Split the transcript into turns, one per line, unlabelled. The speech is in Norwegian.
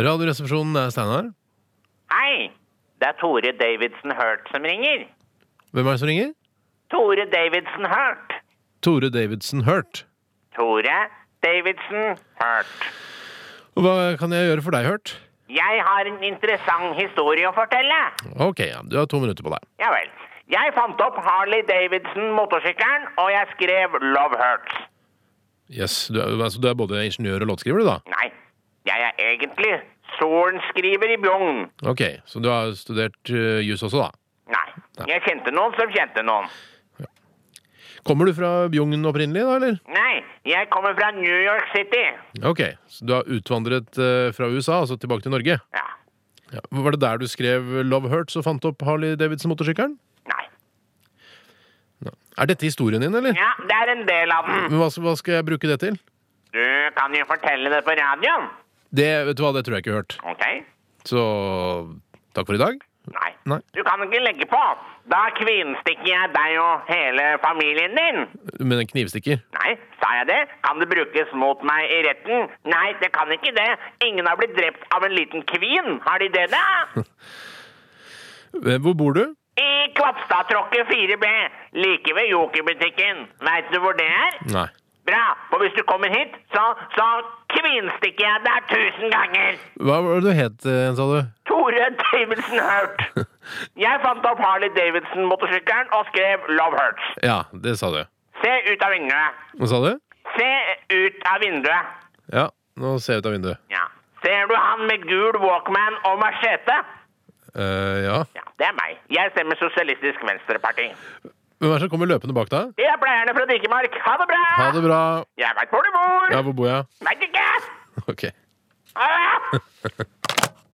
Radioresepsjonen er Steinar.
Hei! Det er Tore Davidsen Hurt som ringer.
Hvem er det som ringer?
Tore Davidsen Hurt.
Tore Davidsen Hurt.
Tore Davidsen Hurt.
Og Hva kan jeg gjøre for deg, Hurt?
Jeg har en interessant historie å fortelle.
Ok, ja, du har to minutter på deg.
Ja vel. Jeg fant opp Harley Davidson motorsykkelen, og jeg skrev Love Hurts.
Yes, du er, altså, du er både ingeniør og låtskriver, du, da?
Nei, jeg er egentlig sorenskriver i Bjugn.
Ok, Så du har studert eh, jus også, da?
Nei, jeg kjente noen som kjente noen.
Kommer du fra Bjugn opprinnelig, da, eller?
Nei, jeg kommer fra New York City.
Ok, så du har utvandret eh, fra USA, altså tilbake til Norge?
Ja,
Ja. Var det der du skrev 'Love Hurts' og fant opp Harley Davidson-motorsykkelen?
nei.
Er dette historien din, eller?
Ja, det er en del av den.
Men hva, hva skal jeg bruke det til?
Du kan jo fortelle det på radioen.
Det vet du hva, det tror jeg ikke jeg har hørt.
Ok?
Så takk for i dag.
Nei.
Nei.
Du kan ikke legge på. Da kvinstikker jeg deg og hele familien din.
Men en knivstikker?
Nei, sa jeg det? Kan det brukes mot meg i retten? Nei, det kan ikke det. Ingen har blitt drept av en liten kvin. Har de det, da?
Eh, Hvor bor du?
I Kvapstadtråkket 4B, like ved Jokerbutikken. Veit du hvor det er?
Nei.
Bra, for hvis du kommer hit, så, så kvinstikker jeg deg tusen ganger.
Hva var det du het igjen, sa du?
Tore Davidsen Hurt. Jeg fant opp Harley Davidson-motorsykkelen og skrev Love Hurts.
Ja, det sa du.
Se ut av vinduet.
Hva sa du?
Se ut av vinduet.
Ja, nå ser jeg ut av vinduet.
Ja. Ser du han med gul Walkman og machete?
Eh, ja.
Ja, det er meg. Jeg stemmer Sosialistisk Venstreparti.
Hvem er det som kommer løpende bak deg?
Det er pleierne fra Dikemark. Ha det bra!
Ha det bra.
Jeg veit hvor du bor!
Ja, hvor bor jeg?
Veit ikke!
Ok.
Ah!